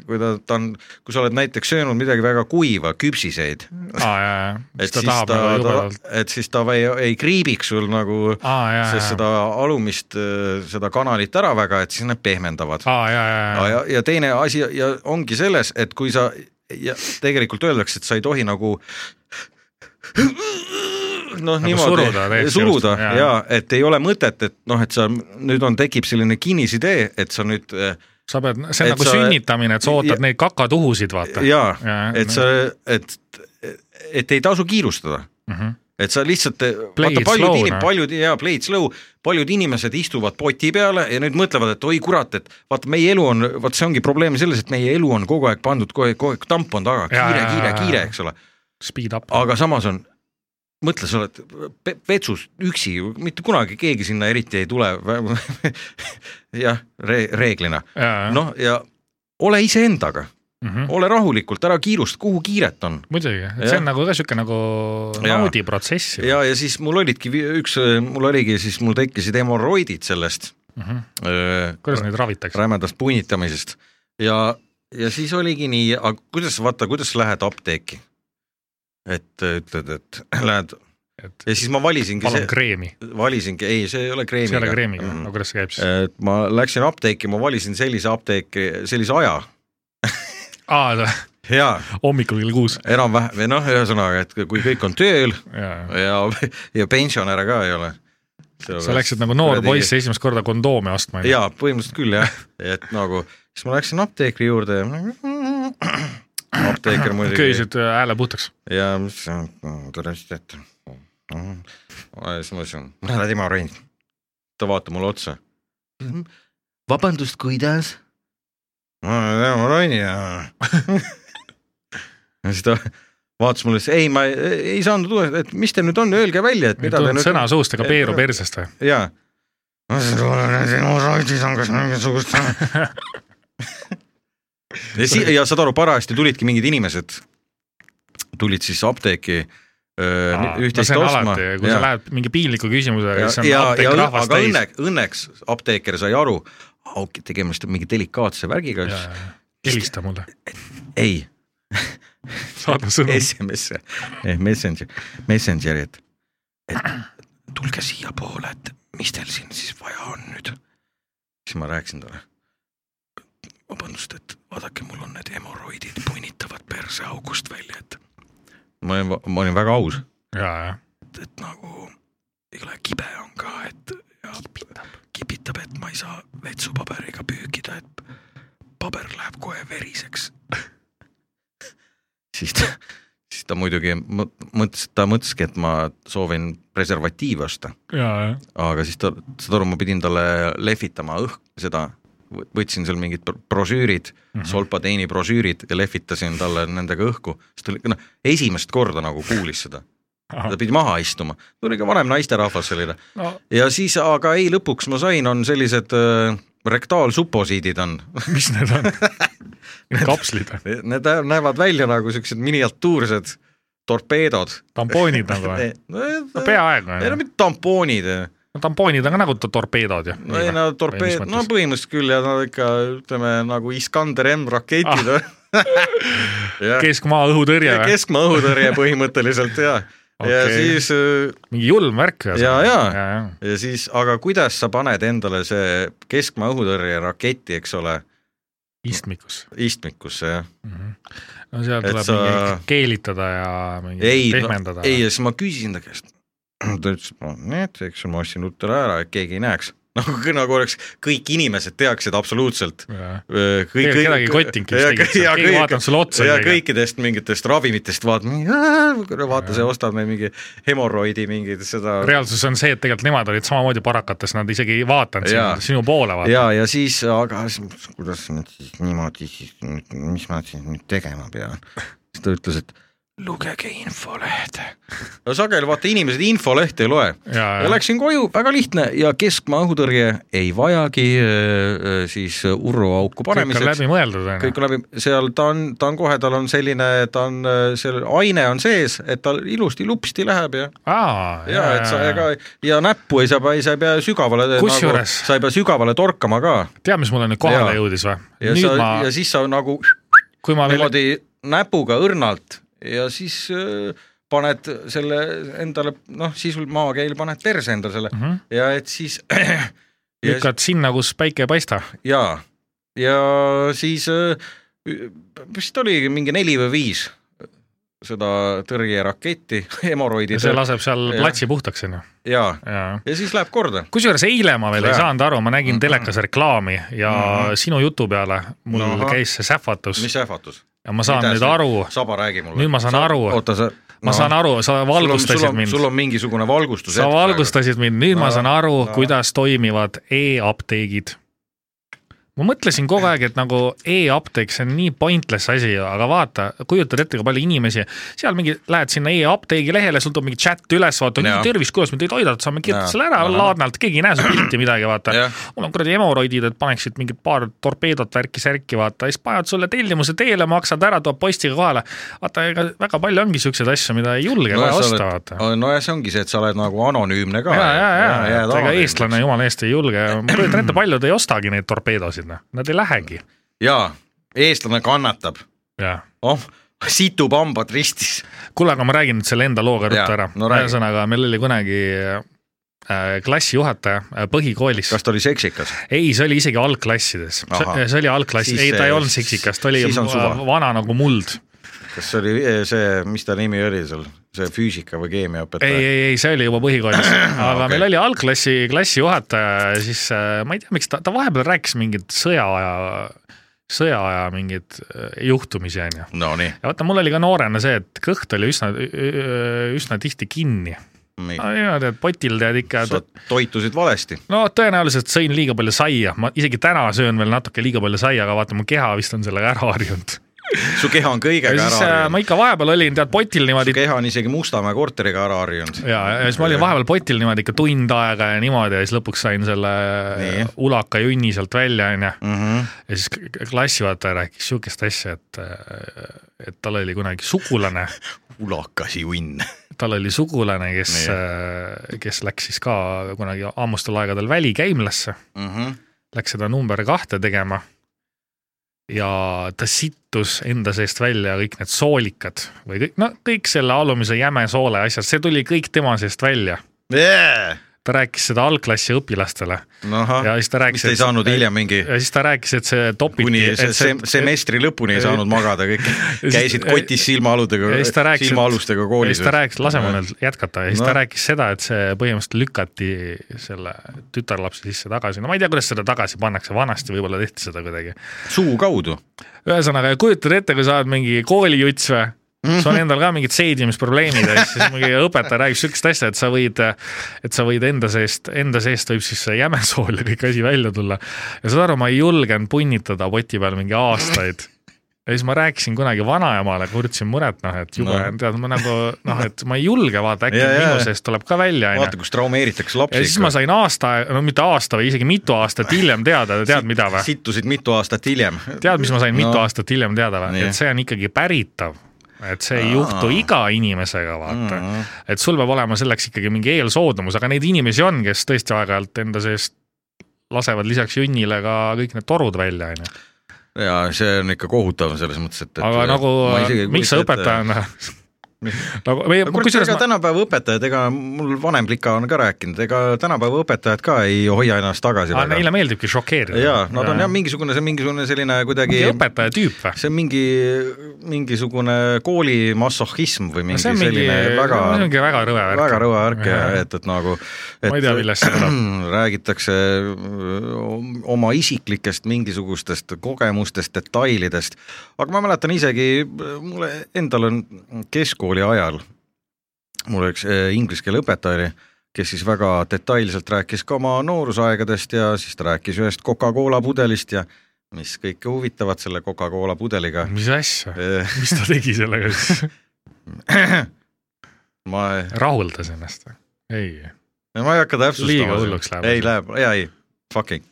S4: kui ta , ta on , kui sa oled näiteks söönud midagi väga kuiva , küpsiseid ,
S3: aa , jaa , jaa .
S4: et
S3: siis
S4: siis
S3: ta tahab
S4: ta,
S3: nagu
S4: ta
S3: jubedalt .,
S4: et siis ta ei, ei kriibiks sul nagu
S3: aa , jaa ,
S4: sest
S3: jaa .
S4: seda alumist , seda kanalit ära väga , et siis need pehmendavad .
S3: aa , jaa , jaa , jaa .
S4: ja , ja teine asi ja ongi selles , et kui sa ja tegelikult öeldakse , et sa ei tohi nagu noh , niimoodi
S3: Nagu suruda täiesti
S4: suruda
S3: just, jaa.
S4: ja et ei ole mõtet , et noh , et sa nüüd on , tekib selline kinnisidee , et sa nüüd äh,
S3: sa pead , see on
S4: et
S3: nagu
S4: sa-
S3: sünnitamine , et sa
S4: ja-
S3: ootad neid kakatuhusid , vaata .
S4: jaa , et sa , et , et ei tasu kiirustada .
S3: Mhm.
S4: et sa lihtsalt ,
S3: Play
S4: vaata
S3: it
S4: paljud
S3: slow,
S4: inim- ,
S3: noh.
S4: paljud ja play it slow , paljud inimesed istuvad poti peale ja nüüd mõtlevad , et oi kurat , et vaata , meie elu on , vot see ongi probleem selles , et meie elu on kogu aeg pandud kogu aeg , kogu aeg tamp on taga ,
S3: Jaa,
S4: kiire
S3: jaa, ,
S4: kiire
S3: jaa, ,
S4: kiire
S3: jaa. ,
S4: eks ole ,
S3: Speed up .
S4: aga samas on , mõtle , sa oled pe- vetsus üksi , mitte kunagi keegi sinna eriti ei tule , [LAUGHS] jah , re- , reeglina , noh ja ole iseendaga , ole rahulikult , ära kiirusta , kuhu kiiret on
S3: mhm. muidugi , et see
S4: Jah.
S3: on nagu ka sihuke nagu
S4: Jaa.
S3: naudi protsess ju .
S4: ja , ja siis mul olidki vi- üks , mul oligi siis , mul tekkisid hemoroidid sellest öö,
S3: Mhm. kuidas neid ravitakse ?
S4: rämedast punnitamisest ja , ja siis oligi nii , aga kuidas , vaata , kuidas sa lähed apteeki ? et öö, ütled , et [CLEARS THROAT] lähed
S3: et
S4: ja siis ma valisingi
S3: palun
S4: see ,
S3: kreemi ,
S4: valisingi , ei , see ei ole
S3: see ei ole
S4: kreemiga . Mm-hmm.
S3: kreemiga , aga kuidas see käib siis ?
S4: et ma läksin apteeki , ma valisin sellise apteeki , sellise aja
S3: aa ,
S4: ja
S3: hommikul kell kuus .
S4: enam-vähem või noh , ühesõnaga , et kui kõik on tööl ja , ja pensionäre ka ei ole .
S3: sa läksid nagu noor poiss esimest korda kondoome ostma .
S4: jaa , põhimõtteliselt küll jah , et nagu siis ma läksin apteekri juurde ja [CLEARS THROAT] apteeker muidugi
S3: köisid äh, hääle puhtaks .
S4: ja mis see on , tõenäoliselt , et siis ma ütlesin , ma olen Timo Rein . ta vaatab mulle otsa . vabandust , kuidas ? ma olen Timo Rein ja [LAUGHS] ja siis ta vaatas mulle , ei , ma ei ei saanud , et mis teil nüüd on , öelge välja , et
S3: ei
S4: mida te
S3: tulnud
S4: nüüd
S3: sõna suust ega
S4: ei,
S3: peeru
S4: jah.
S3: persest või ?
S4: jaa . ma ütlesin , et olen sinu saatis , on kas mingisugust . ja si- , ja saad aru , parajasti tulidki mingid inimesed , tulid siis apteeki öö, üht-teist ostma .
S3: kui sa lähed mingi piinliku küsimusega , siis on
S4: ja , ja
S3: apteek
S4: õn-
S3: rahvast
S4: aga
S3: täis .
S4: õnne , õnneks apteeker sai aru , okei , tegemist on mingi delikaatse värgiga ,
S3: helista mulle ,
S4: ei ,
S3: saada sõnum .
S4: SMS-e , Eh, Messenger , Messengeri , et , et tulge siiapoole , et mis teil siin siis vaja on nüüd . siis ma rääkisin talle . vabandust , et vaadake , mul on need hemoroidid punnitavad perseaugust välja , et ma olin , ma olin väga aus ,
S3: ja , ja ,
S4: et , et nagu ei ole kibe on ka , et ja, kipitab. kipitab , et ma ei saa vetsupaberiga püükida , et paber läheb kohe veriseks . [LAUGHS] siis ta , siis ta muidugi mõ- mõtles , ta mõtleski , et ma soovin preservatiivi osta ,
S3: ja , ja ,
S4: aga siis ta , saad aru , ma pidin talle lehvitama õhk , seda , võtsin seal mingid bro- brošüürid mm , -hmm. solpateeni brošüürid ja lehvitasin talle nendega õhku , siis ta oli , noh , esimest korda nagu kuulis seda ta pidi maha istuma , tuli ka vanem naisterahvas selline
S3: no
S4: ja siis , aga ei , lõpuks ma sain , on sellised äh, rektaalsuposiidid on , [LAUGHS]
S3: mis need on ? kapslid ,
S4: need nä- näevad välja nagu siuksed miniatuursed torpeedod .
S3: tampoonid nagu või ? no peaaegu
S4: ei no
S3: on ju ,
S4: mitte tampoonid ,
S3: tampoonid on ka nagu to- torpeedod noh. ju .
S4: ei no torpeed , no põhimõtteliselt küll ja nad ikka ütleme nagu Iskander M raketid [LAUGHS] ah. . jah ,
S3: keskmaa õhutõrje või ?
S4: keskmaa õhutõrje põhimõtteliselt ja okay. , ja
S3: Okei.
S4: siis äh,
S3: mingi julm värk
S4: Jaa, jaa.
S3: ja , ja ,
S4: ja siis , aga kuidas sa paned endale see keskmaa õhutõrje raketi , eks ole ,
S3: istmikus
S4: istmikusse , jah ?
S3: no seal
S4: Et
S3: tuleb
S4: sa-
S3: sa... mingi keelitada ja mingi
S4: ei ,
S3: pehmendada .
S4: ei ja siis ma küsisin ta käest , ta ütles , ma näed , eks ju, ma ostsin ruttu ära , et keegi ei näeks . [LAUGHS] nagu , nagu oleks , kõik inimesed teaksid absoluutselt .
S3: ei .
S4: kõik ,
S3: Tegelikult kedagi ei kotinudki vist tegelikult,
S4: ja
S3: keegi
S4: kõik-
S3: vaatab sulle otsa
S4: ja
S3: isegi.
S4: kõikidest mingitest ravimitest vaatame , vaata , see ostame mingi hemoroidi mingit seda
S3: reaalsus on see , et tegelikult nemad olid samamoodi parakates , nad isegi ei vaadanud
S4: Jaa.
S3: sinu, sinu poole vaata .
S4: ja , ja siis , aga siis- kuidas nüüd siis niimoodi siis , mis ma siis nüüd tegema pean ? siis ta ütles , et lugege infolehte . no sageli vaata inimesed infolehte ei loe
S3: ja ,
S4: ja läksin koju , väga lihtne ja keskmaa õhutõrje ei vajagi äh, äh, siis urruauku
S3: kõik on
S4: panemiseks
S3: läbi mõeldud
S4: kõik
S3: onju .
S4: on läbi , seal ta on , ta on kohe , tal on selline , ta on , seal aine on sees , et tal ilusti lupsti läheb ja
S3: aa ,
S4: ja et sa ega ja näppu ei saa , ei sa ei pea sügavale nagu, ,
S3: Kusjuures-
S4: sa ei pea sügavale torkama ka
S3: tead , mis mulle nüüd kohale
S4: Jaa.
S3: jõudis või ?
S4: ja
S3: nüüd
S4: sa
S3: ma
S4: ma... , ja siis sa nagu
S3: kui ma veel ,
S4: niimoodi näpuga õrnalt ja siis öö, paned selle endale , noh , sisul maakeel paned perse endale selle mm
S3: Mhm.
S4: -hmm. ja et siis [CLEARS THROAT] ja ,
S3: lükkad sinna , kus päike ei paista .
S4: ja , ja siis öö, vist oli mingi neli või viis seda [LAUGHS] tõrjeraketti , hemoroidi
S3: ja see laseb seal
S4: Jah.
S3: platsi puhtaks onju .
S4: ja ,
S3: jaa
S4: ja siis läheb korda .
S3: kusjuures eile ma veel ei
S4: Jaa.
S3: saanud aru , ma nägin telekas reklaami ja sinu jutu peale mul
S4: Ahah.
S3: käis see sähvatus
S4: mis ähvatus ?
S3: ja ma saan nüüd aru ,
S4: saba räägi mulle .
S3: nüüd ma saan aru ,
S4: oota ,
S3: ma
S4: sa , No.
S3: no. saan aru , sa valgustasid mind .
S4: sul on mingisugune valgustus .
S3: sa valgustasid mind , nüüd no, ma
S4: No,
S3: saan aru
S4: no.
S3: no. , kuidas toimivad e-apteegid . ma mõtlesin kogu aeg , et nagu e-apteek , see on nii pointless asi , aga vaata , kujutad ette , kui palju inimesi , seal mingi , lähed sinna e-apteegi lehele , sul tuleb mingi chat üles , vaata
S4: Jaa. ,
S3: tervist , kuidas me teid aidata saame ,
S4: Jaa.
S3: kirjuta selle ära
S4: Ahah.
S3: laadnalt , keegi ei näe su pilti midagi , vaata
S4: Jah. .
S3: mul on kuradi hemoroidid , et paneksid mingi paar torpeedot värki-särki , vaata , siis panevad sulle tellimuse teele , maksad ära , toob postiga kohale . vaata , ega väga palju ongi siukseid asju , mida ei julge kohe osta , vaata .
S4: nojah , see ongi see , et sa oled nagu anonüümne ka .
S3: ja , ja , ja , ja , et ega eestlane jumala eest ei julge , ma kujutan ette , paljud ei ostagi neid torpeedosid , noh , nad ei lähegi .
S4: jaa , eestlane kannatab ,
S3: jah ,
S4: oh , situb hambad ristis .
S3: kuule , aga ma räägin nüüd selle enda looga
S4: Jaa,
S3: ruttu ära
S4: no
S3: no, .
S4: räägi.
S3: ühesõnaga , meil oli kunagi äh, klassijuhataja äh, põhikoolis ,
S4: kas ta oli seksikas ?
S3: ei , see oli isegi algklassides ,
S4: Ahah.
S3: see see oli algklass ,
S4: Siis
S3: ei , ta
S4: see-
S3: ei olnud siksikas , ta oli
S4: siis on suva.
S3: va- vana nagu muld .
S4: kas see oli eh, see , mis ta nimi oli seal , see füüsika või
S3: ei ,
S4: keemiaõpetaja ?
S3: ei , ei , Äh, see oli juba
S4: [CLEARS THROAT]
S3: põhikoolis , aga
S4: okei.
S3: okay. meil oli algklassi klassijuhataja ja siis äh, ma ei tea , miks ta , ta vahepeal rääkis mingit sõjaaja , sõjaaja mingeid äh, juhtumisi , onju .
S4: Nonii ,
S3: ja vaata , mul oli ka noorena see , et kõht oli üsna , üsna tihti kinni .
S4: nii ,
S3: Ah, niimoodi , et potil tead ikka ,
S4: sa toitusid valesti .
S3: no tõenäoliselt sõin liiga palju saia , ma isegi täna söön veel natuke liiga palju saia , aga vaata , mu keha vist on sellega ära harjunud .
S4: su keha on
S3: ja
S4: kõigega ära
S3: siis äh,
S4: harjunud
S3: ma . ikka vahepeal olin tead potil
S4: su
S3: niimoodi
S4: keha on isegi Mustamäe korteriga ära harjunud .
S3: ja , ja siis ma olin vahepeal potil niimoodi ikka tund aega ja niimoodi ja siis lõpuks sain selle äh,
S4: Nii.
S3: ulaka jünni sealt välja , onju .
S4: vahepeal .
S3: ja siis k- k- klassijuhataja rääkis sihukest asja , et , et tal oli kunagi sugulane
S4: ulakas junn .
S3: tal oli sugulane , kes äh,
S4: Nii. ,
S3: kes läks siis ka kunagi ammustel aegadel välikäimlasse ,
S4: Mhm.
S3: läks seda number kahte tegema . ja ta sittus enda seest välja kõik need soolikad või kõik , no kõik selle alumise jäme soole asjad , see tuli kõik tema seest välja . ta rääkis seda algklassi õpilastele ja
S4: ahah ,
S3: siis ta rääkis .
S4: Noh, mis te ei saanud hiljem mingi ,
S3: ja siis ta rääkis , et see
S4: kuni
S3: topiti ,
S4: se-
S3: et see
S4: sem- semestri lõpuni ei saanud magada kõik ,
S3: [LAUGHS] siis-
S4: käisid kotis silmaaludega
S3: ja siis ta , rääkis ,
S4: silmaalustega
S3: ja
S4: koolis .
S3: siis ta rääkis , lase mul nüüd jätkata ja siis
S4: No.
S3: no. ta rääkis seda , et see põhimõtteliselt lükati selle tütarlapse sisse tagasi , no ma ei tea , kuidas seda tagasi pannakse , vanasti võib-olla tehti seda kuidagi .
S4: suu kaudu .
S3: ühesõnaga , kujutad ette , kui sa oled mingi koolijuts või ,
S4: Mhm.
S3: sul on endal ka mingid seedimisprobleemid ja siis
S4: [LAUGHS]
S3: siis mingi õpetaja räägib sihukest asja , et sa võid , et sa võid enda seest , enda seest võib siis see jämesool ja kõik asi välja tulla . ja saad aru , ma ei julgenud punnitada poti peal mingi aastaid ja siis ma rääkisin kunagi vanaemale , kurtsin muret , noh , et jube
S4: No.
S3: no. , tead , ma nagu noh , et ma ei julge , vaata äkki
S4: Ja, ja, ja.
S3: minu seest tuleb ka välja ,
S4: vaata ,
S3: onju .
S4: kus traumeeritakse
S3: ja
S4: lapsi
S3: siis ma
S4: ikka .
S3: sain aasta , no mitte aasta või isegi mitu aastat hiljem teada , tead mida või ?
S4: sittusid mitu aastat hiljem .
S3: tead , mis ma sain mitu aastat hiljem teada või
S4: Nii. ,
S3: et see on ikkagi päritav , et see ei juhtu iga inimesega , vaata mm .
S4: Mhm.
S3: -hmm. et sul peab olema selleks ikkagi mingi eelsoodumus , aga neid inimesi on , kes tõesti aeg-ajalt enda seest lasevad lisaks junnile ka kõik need torud välja , onju .
S4: ja see on ikka kohutav selles mõttes , et .
S3: aga nagu , miks sa õpetajana nagu meie ,
S4: kusjuures
S3: kusjuures
S4: ma...
S3: ma ,
S4: tänapäeva õpetajad , ega mul vanem plika on ka rääkinud , ega tänapäeva õpetajad ka ei hoia ennast tagasi
S3: aga neile meeldibki šokeerida .
S4: jaa , nad on jah , mingisugune , see on mingisugune selline kuidagi
S3: õpetaja tüüp või ?
S4: see on mingi , mingisugune kooli massohhism või mingi
S3: see on mingi
S4: selline , väga ,
S3: mingi väga rõve värk .
S4: väga rõve värk ja et , et nagu et
S3: Ma ei tea, millest see tuleb.
S4: Hmm, räägitakse oma isiklikest mingisugustest kogemustest , detailidest , aga ma mäletan isegi , mulle endal on keskkooli ajal , mul üks eh, inglise keele õpetaja oli , kes siis väga detailselt rääkis ka oma noorusaegadest ja siis ta rääkis ühest Coca-Cola pudelist ja mis kõike huvitavat selle Coca-Cola pudeliga
S3: mis
S4: [LAUGHS]
S3: asja ,
S4: Eh,
S3: mis ta tegi sellega siis ?
S4: ma ,
S3: rahuldas ennast või ? ei ,
S4: ma ei hakka täpsustama .
S3: Liiga hulluks läheb
S4: ei
S3: asi.
S4: läheb , jaa ei , fucking ,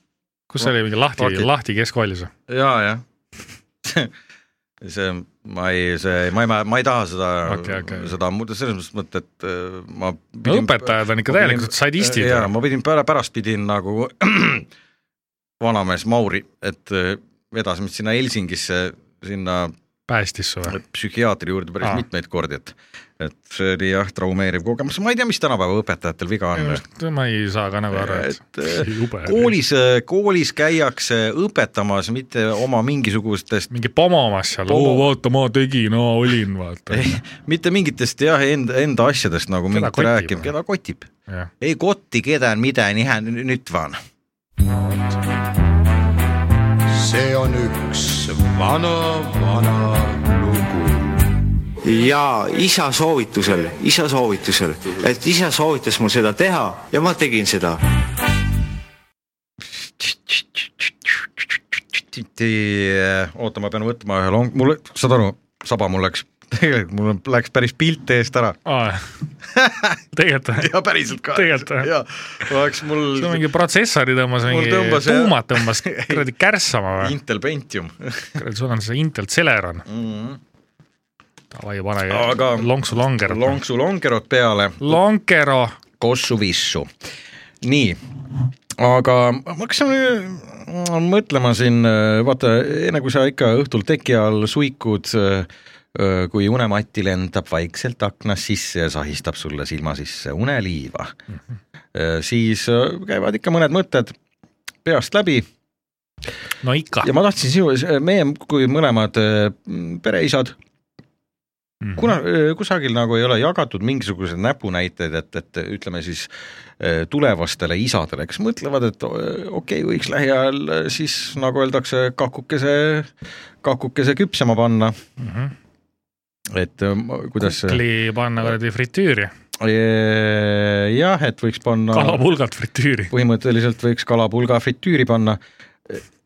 S3: kus see oli mingi lahti
S4: Okei. ,
S3: lahti keskkoolis või ?
S4: jaa jah . [LAUGHS] see , ma ei , see , ma ei , ma ei taha seda
S3: Okei, okei.
S4: seda muud , selles mõttes mõtet , et eh, ma
S3: no õpetajad on ikka
S4: ma pidin-
S3: täielikult sadistid .
S4: jaa , ma pidin pära- , pärast pidin nagu [CLEARS THROAT] vanamees Mauri , et eh, vedas mind sinna Helsingisse , sinna
S3: päästis su või ?
S4: psühhiaatri juurde päris
S3: Aa.
S4: mitmeid kordi , et et see oli jah , traumeeriv kogemus , ma ei tea , mis tänapäeva õpetajatel viga on .
S3: ma ei saa ka nagu aru ,
S4: Et, eh,
S3: et [LAUGHS] jube .
S4: koolis , koolis käiakse õpetamas mitte oma mingisugustest ,
S3: mingi pomomas seal ,
S4: Pomo-
S3: oo vaata , ma tegin , aa olin , vaata .
S4: mitte mingitest jah , enda , enda asjadest nagu
S3: Keda
S4: mingit
S3: kotib?
S4: rääkima , keda kotib .
S3: jah ,
S4: ei kotti kedään mitään , ihan nyt vaan .
S7: see on üks vana , vana lugu . ja isa soovitusel , isa soovitusel , et isa soovitas mul seda teha ja ma tegin seda .
S4: eh, oota , ma pean võtma ühe long- , mul , saad aru , saba mul läks , [LAUGHS] tegelikult mul on- läks päris pilt eest ära [LAUGHS]
S3: tegelikult või ?
S4: ja päriselt ka .
S3: Tegelikult, jah.
S4: jah , oleks mul
S3: no mingi protsessori tõmbas
S4: Mul
S3: mingi ,
S4: tõmbas, jah.
S3: tuumad
S4: [LAUGHS]
S3: tõmbas kuradi kärssama või ?
S4: Intel Pentium .
S3: kuradi , sul on see Intel Celeron . Davai , panege
S4: Mhm. Aga-
S3: lonksu longer .
S4: lonksu lonkerot peale ,
S3: Lonkero ,
S4: kossu vissu . nii , aga ma hakkasin äh, mõtlema siin , vaata , enne kui sa ikka õhtul teki all suikud , kui unematti lendab vaikselt aknast sisse ja sahistab sulle silma sisse uneliiva mm , -hmm. siis äh, käivad ikka mõned mõtted peast läbi
S3: no ikka
S4: ja . ma tahtsin sinu , meie kui mõlemad äh, m, pereisad ,
S3: Mhm.
S4: kuna äh, kusagil nagu ei ole jagatud mingisuguseid näpunäiteid , et , et ütleme siis äh, tulevastele isadele , kes mõtlevad , et äh, okei okay, , võiks lähiajal äh, siis nagu öeldakse , kakukese , kakukese küpsema panna ,
S3: mm -hmm.
S4: et äh, ma- kuidas see-
S3: kukli panna kuradi fritüüri ,
S4: Eh, jah , et võiks panna
S3: kalapulgalt fritüüri .
S4: põhimõtteliselt võiks kalapulga fritüüri panna ,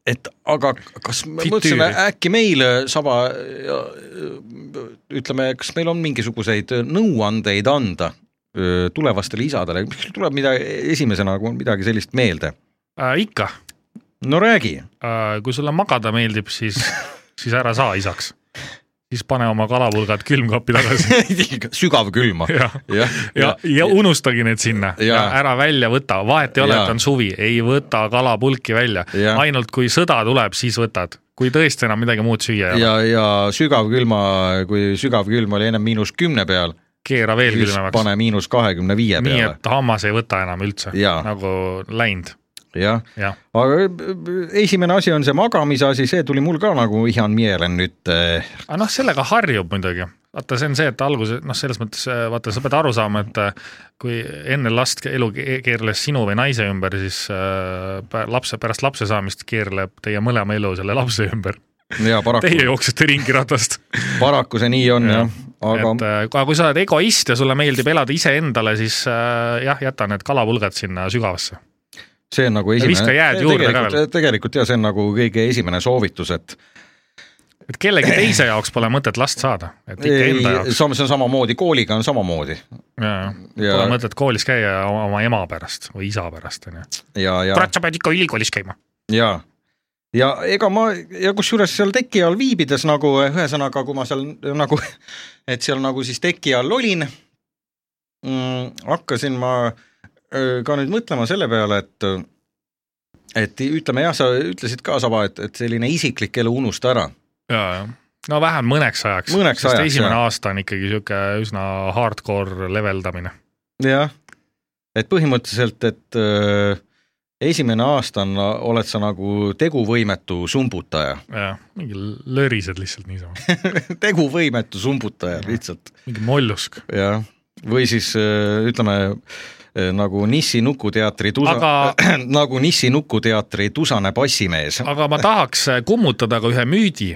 S4: et aga kas me
S3: Fritüüri.
S4: mõtlesime äkki meil sama , ütleme , kas meil on mingisuguseid nõuandeid anda öö, tulevastele isadele , kas sul tuleb midagi esimesena nagu midagi sellist meelde ?
S3: Äh, ikka
S4: no
S3: [LAUGHS]
S4: räägi ,
S3: äh, , kui sulle magada meeldib ,
S4: [LAUGHS]
S3: siis , siis ära saa isaks . siis pane oma kalapulgad külmkapi
S4: [LAUGHS]
S3: tagasi
S4: sügavkülma .
S3: ja ,
S4: jah ,
S3: ja , ja unustagi need sinna
S4: Ja.
S3: ja ära välja võta , vahet ei ole ,
S4: Ja.
S3: et on suvi , ei võta kalapulki välja
S4: Ja. ,
S3: ainult kui sõda tuleb , siis võtad , kui tõesti enam midagi muud süüa ei ole ,
S4: ja , ja sügavkülma , kui sügavkülm oli ennem miinus kümne peal ,
S3: keera veel
S4: siis
S3: külmemaks
S4: pane miinus kahekümne viie
S3: nii
S4: peale ,
S3: et hammas ei võta enam üldse ,
S4: Ja.
S3: nagu läinud ,
S4: jah
S3: jah .
S4: aga äh, esimene asi on see magamise asi , see tuli mul ka nagu ihan mielen nüüd . äh,
S3: aga noh , sellega harjub muidugi , vaata , see on see , et alguses noh , selles mõttes äh, vaata , sa pead aru saama , et äh, kui enne last ke- elu ke- keerles sinu või naise ümber , siis äh, pä- lapse , pärast lapse saamist keerleb teie mõlema elu selle lapse ümber .
S4: ja
S3: Teie
S4: paraku ,
S3: jooksete ringi ratast .
S4: paraku see nii on
S3: Jah.
S4: jah ,
S3: aga
S4: [LAUGHS] aga
S3: et, äh, aga kui sa oled egoist ja sulle meeldib elada iseendale , siis äh, jah , jäta need kalapulgad sinna sügavasse .
S4: see on nagu
S3: viska jääd
S4: esimene ,
S3: juurde ka
S4: tegelikult
S3: veel. ,
S4: tegelikult ja see on nagu kõige esimene soovitus , et
S3: et kellegi teise jaoks pole mõtet last saada , et ikka
S4: ei
S3: enda , jaoks .
S4: see on samamoodi , kooliga on samamoodi Ja-
S3: Pole mõtet koolis käia oma oma ema pärast või isa pärast , onju .
S4: ja , ja ,
S3: kurat , sa pead ikka ülikoolis käima .
S4: ja , ja ega ma ja kusjuures seal teki all viibides nagu ühesõnaga , kui ma seal nagu , [LAUGHS] et seal nagu siis teki all olin mm, , hakkasin ma öö, ka nüüd mõtlema selle peale , et et ütleme jah , sa ütlesid ka , Saba , et , et selline isiklik elu unusta ära .
S3: ja , ja no vähem mõneks ajaks ,
S4: Mõneks
S3: sest
S4: ajaks,
S3: esimene
S4: jah.
S3: aasta on ikkagi sihuke üsna hardcore leveldamine .
S4: jah , et põhimõtteliselt , et öö, esimene aasta on , oled sa nagu teguvõimetu sumbutaja ,
S3: jah , mingi lörised lihtsalt niisama ,
S4: [LAUGHS] teguvõimetu sumbutaja lihtsalt .
S3: mingi mollusk .
S4: jah , või siis öö, ütleme öö, nagu Nissi Nukuteatri tusa
S3: Aga- ,
S4: [CLEARS THROAT] nagu Nissi Nukuteatri tusane bassimees .
S3: aga ma tahaks kummutada ka ühe müüdi ,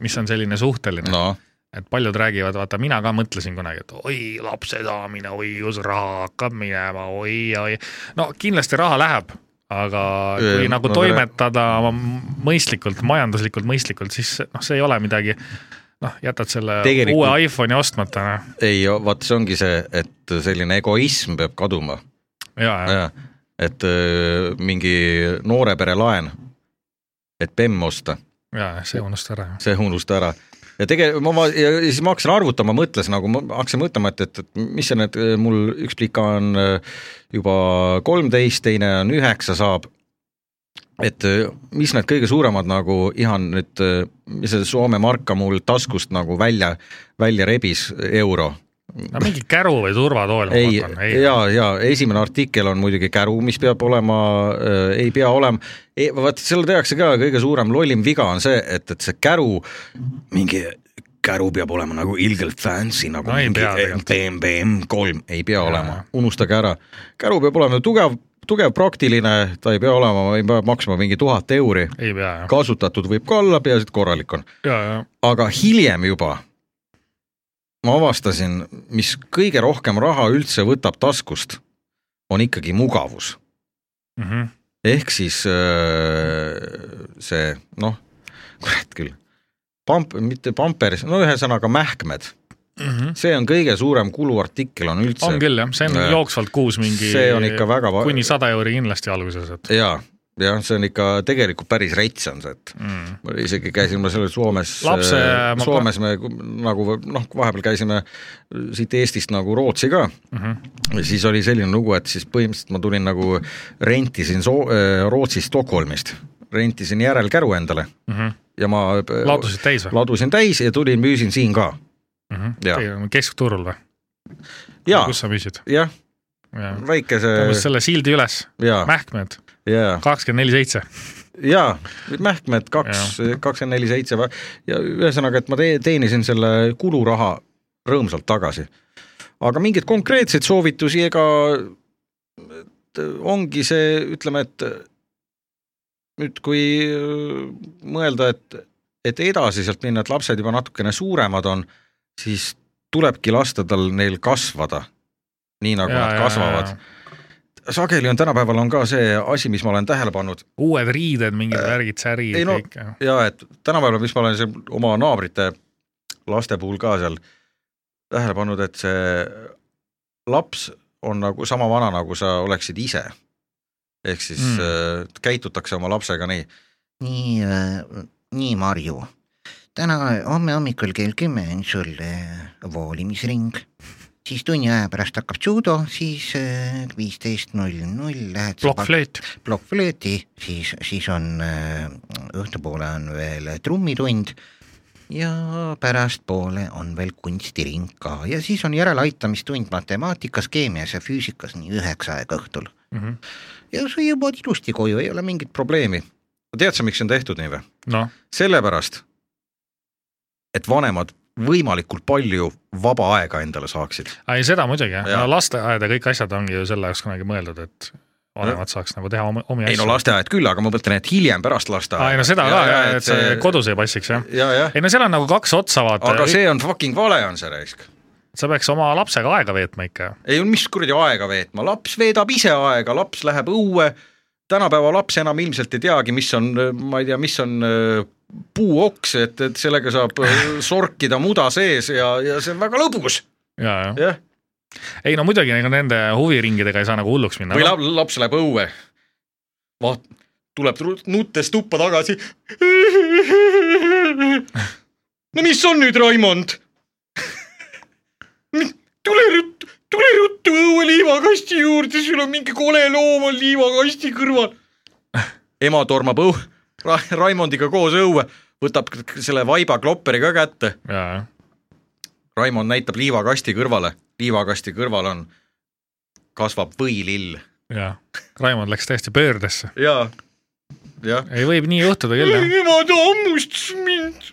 S3: mis on selline suhteline no. ,
S4: noh ,
S3: et paljud räägivad , vaata mina ka mõtlesin kunagi , et oi lapse saamine , oi kus raha hakkab minema , oi , oi . no kindlasti raha läheb , aga kui
S4: Ei,
S3: nagu
S4: no
S3: no, toimetada oma mõistlikult , majanduslikult mõistlikult , siis noh , see ei ole midagi , noh , jätad selle
S4: Tegelikult-
S3: uue iPhone'i ostmata , noh
S4: ei , vot see ongi see , et selline egoism peab kaduma ,
S3: ja , ja ,
S4: et öö, mingi noore pere laen , et bemm osta ,
S3: ja see unusta ära .
S4: see unusta ära ja tegelikult ma , ma ja siis ma hakkasin arvutama , mõtlesin nagu , ma hakkasin mõtlema , et , et , et mis see need , mul üks plika on öö, juba kolmteist , teine on üheksa saab . et öö, mis need kõige suuremad nagu ihan nüüd , mis see Soome marka mul taskust nagu välja , välja rebis euro .
S3: no mingi käru või turvatool ma
S4: ei
S3: pakun ,,
S4: ja , ja esimene artikkel on muidugi käru , mis peab olema , ei pea olema , vaat seal tehakse ka kõige suurem lollim viga on see , et , et see käru , mingi käru peab olema nagu ilgelt fancy nagu
S3: No ei
S4: mingi
S3: pea tegelikult.
S4: BMW M3 ei pea
S3: Jaa.
S4: olema , unustage ära . käru peab olema tugev , tugev , praktiline , ta ei pea olema , ei pea maksma mingi tuhat euri ,
S3: ei pea jah ,
S4: kasutatud võib ka olla , peaasi , et korralik on .
S3: ja , ja
S4: aga hiljem juba ma avastasin , mis kõige rohkem raha üldse võtab taskust , on ikkagi mugavus .
S3: mm . -hmm.
S4: ehk siis öö, see noh , kurat küll , pamp- , mitte pampers , no ühesõnaga mähkmed ,
S3: Mm -hmm.
S4: see on kõige suurem kuluartikkel on üldse .
S3: on küll jah , see on
S4: Jaa.
S3: jooksvalt kuus mingi
S4: see on ikka väga va-
S3: kuni sada euri kindlasti alguses , et
S4: jaa , jah , see on ikka tegelikult päris rets on see , et
S3: mm.
S4: ma isegi käisin ma sellel Soomes äh,
S3: Lapse- ma- ,
S4: Soomes me nagu noh , vahepeal käisime siit Eestist nagu Rootsi ka
S3: Mm -hmm.
S4: Ja siis oli selline lugu , et siis põhimõtteliselt ma tulin nagu rentisin Soo- , Rootsist Stockholmist , rentisin järelkäru endale
S3: Mm -hmm.
S4: ja ma äh,
S3: ladusid täis või ? Mhm.
S4: ladusin täis ja tulin , müüsin siin ka . jaa.
S3: keskturul või ?
S4: jaa , Äh.
S3: kus sa müüsid ?
S4: jah , väikese
S3: selle sildi üles ,
S4: jaa ,
S3: mähkmed ,
S4: jaa ,
S3: kakskümmend neli seitse .
S4: jaa , mähkmed kaks , kakskümmend neli seitse ja ühesõnaga , et ma te- teenisin selle kuluraha rõõmsalt tagasi . aga mingeid konkreetseid soovitusi ega et ongi see , ütleme , et nüüd kui öö, mõelda , et , et edasi sealt minna , et lapsed juba natukene suuremad on , siis tulebki lasta tal neil kasvada , nii nagu ja, nad kasvavad .. sageli on tänapäeval on ka see asi , mis ma olen tähele pannud ,
S3: uued riided , mingid värgid , särid ,
S4: Äh. ei no-
S3: kõik .
S4: jaa , et tänapäeval , mis ma olen seal oma naabrite laste puhul ka seal tähele pannud , et see laps on nagu sama vana , nagu sa oleksid ise . ehk siis
S3: Mm.
S4: mm. äh, käitutakse oma lapsega nii .
S8: nii , nii Marju , täna , homme hommikul kell kümme on sul äh, voolimisring , siis tunni aja pärast hakkab judo , siis äh, viisteist null null lähed sa pak-
S3: plokkflööt ,
S8: plokkflööti , siis , siis on äh, õhtupoole on veel trummitund ja pärastpoole on veel kunstiring ka ja siis on järeleaitamistund matemaatikas , keemias ja füüsikas , nii üheksa aega õhtul .
S3: Mhm.
S8: ja sa jõuad ilusti koju , ei ole mingit
S4: probleemi . tead sa , miks see on tehtud nii või ?
S3: noh ,
S4: sellepärast , et vanemad võimalikult palju vaba aega endale saaksid .
S3: ei seda muidugi jah
S4: Jaa.
S3: no, , lasteaed ja kõik asjad ongi ju selle jaoks kunagi mõeldud , et vanemad saaks nagu teha omi, omi
S4: ei no
S3: asju .
S4: lasteaed küll , aga ma mõtlen , et hiljem pärast lasteaeda .
S3: ei no seda ka , et see kodus ei passiks jah .
S4: ja , jah ,
S3: ei no seal on nagu kaks otsa vaata
S4: aga , see on fucking vale on see raisk
S3: sa peaks oma lapsega aega veetma ikka .
S4: ei , mis kuradi aega veetma , laps veedab ise aega , laps läheb õue , tänapäeva laps enam ilmselt ei teagi , mis on , ma ei tea , mis on öö, puuoks , et , et sellega saab öö, sorkida muda sees ja , ja see on väga lõbus ,
S3: ja , ja
S4: jah .
S3: ei no muidugi , ega nende huviringidega ei saa nagu hulluks minna .
S4: või lap- laps läheb õue , vaat- , tuleb ru- nuttes tuppa tagasi . no mis on nüüd , Raimond ? tule ruttu , tule ruttu õue liivakasti juurde , sul on mingi kole loom on liivakasti kõrval . ema tormab õu- , Ra- , Raimondiga koos õue , võtab k- k- selle vaiba klopperi ka kätte
S3: ja , ja
S4: Raimond näitab liivakasti kõrvale , liivakasti kõrval on , kasvab võilill .
S3: jaa , Raimond läks täiesti pöördesse .
S4: jaa , jah .
S3: ei , võib nii juhtuda küll ,
S4: [LAUGHS]
S3: jah .
S4: ema ta hammustas mind .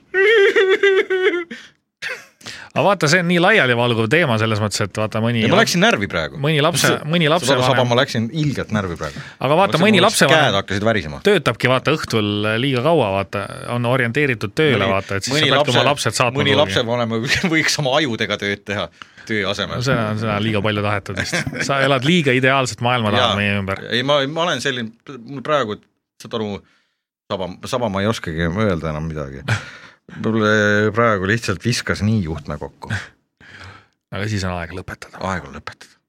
S3: aga vaata , see on nii laialivalguv teema selles mõttes , et vaata mõni
S4: ja ma läksin närvi praegu .
S3: mõni lapse , mõni
S4: saba ,
S3: lapsevanem
S4: ma , läksin ilgelt närvi praegu .
S3: aga vaata , mõni
S4: käed
S3: lapsevanem
S4: hakkasid värisema .
S3: töötabki vaata õhtul liiga kaua , vaata , on orienteeritud tööle , vaata , et siis sa pead oma lapsed saatma
S4: mõni . lapsevanem [LAUGHS] võiks oma ajudega tööd teha , töö asemel .
S3: seda on , seda on liiga palju tahetud vist .
S4: [LAUGHS]
S3: sa elad liiga ideaalset maailma taha
S4: Jaa.
S3: meie ümber .
S4: ei , ma , ma olen selline , mul praegu , saad aru , saba , saba ma ei oskagi öelda enam midagi . mul praegu lihtsalt viskas nii juhtme kokku .
S3: aga siis on aeg lõpetada .
S4: aeg on lõpetada .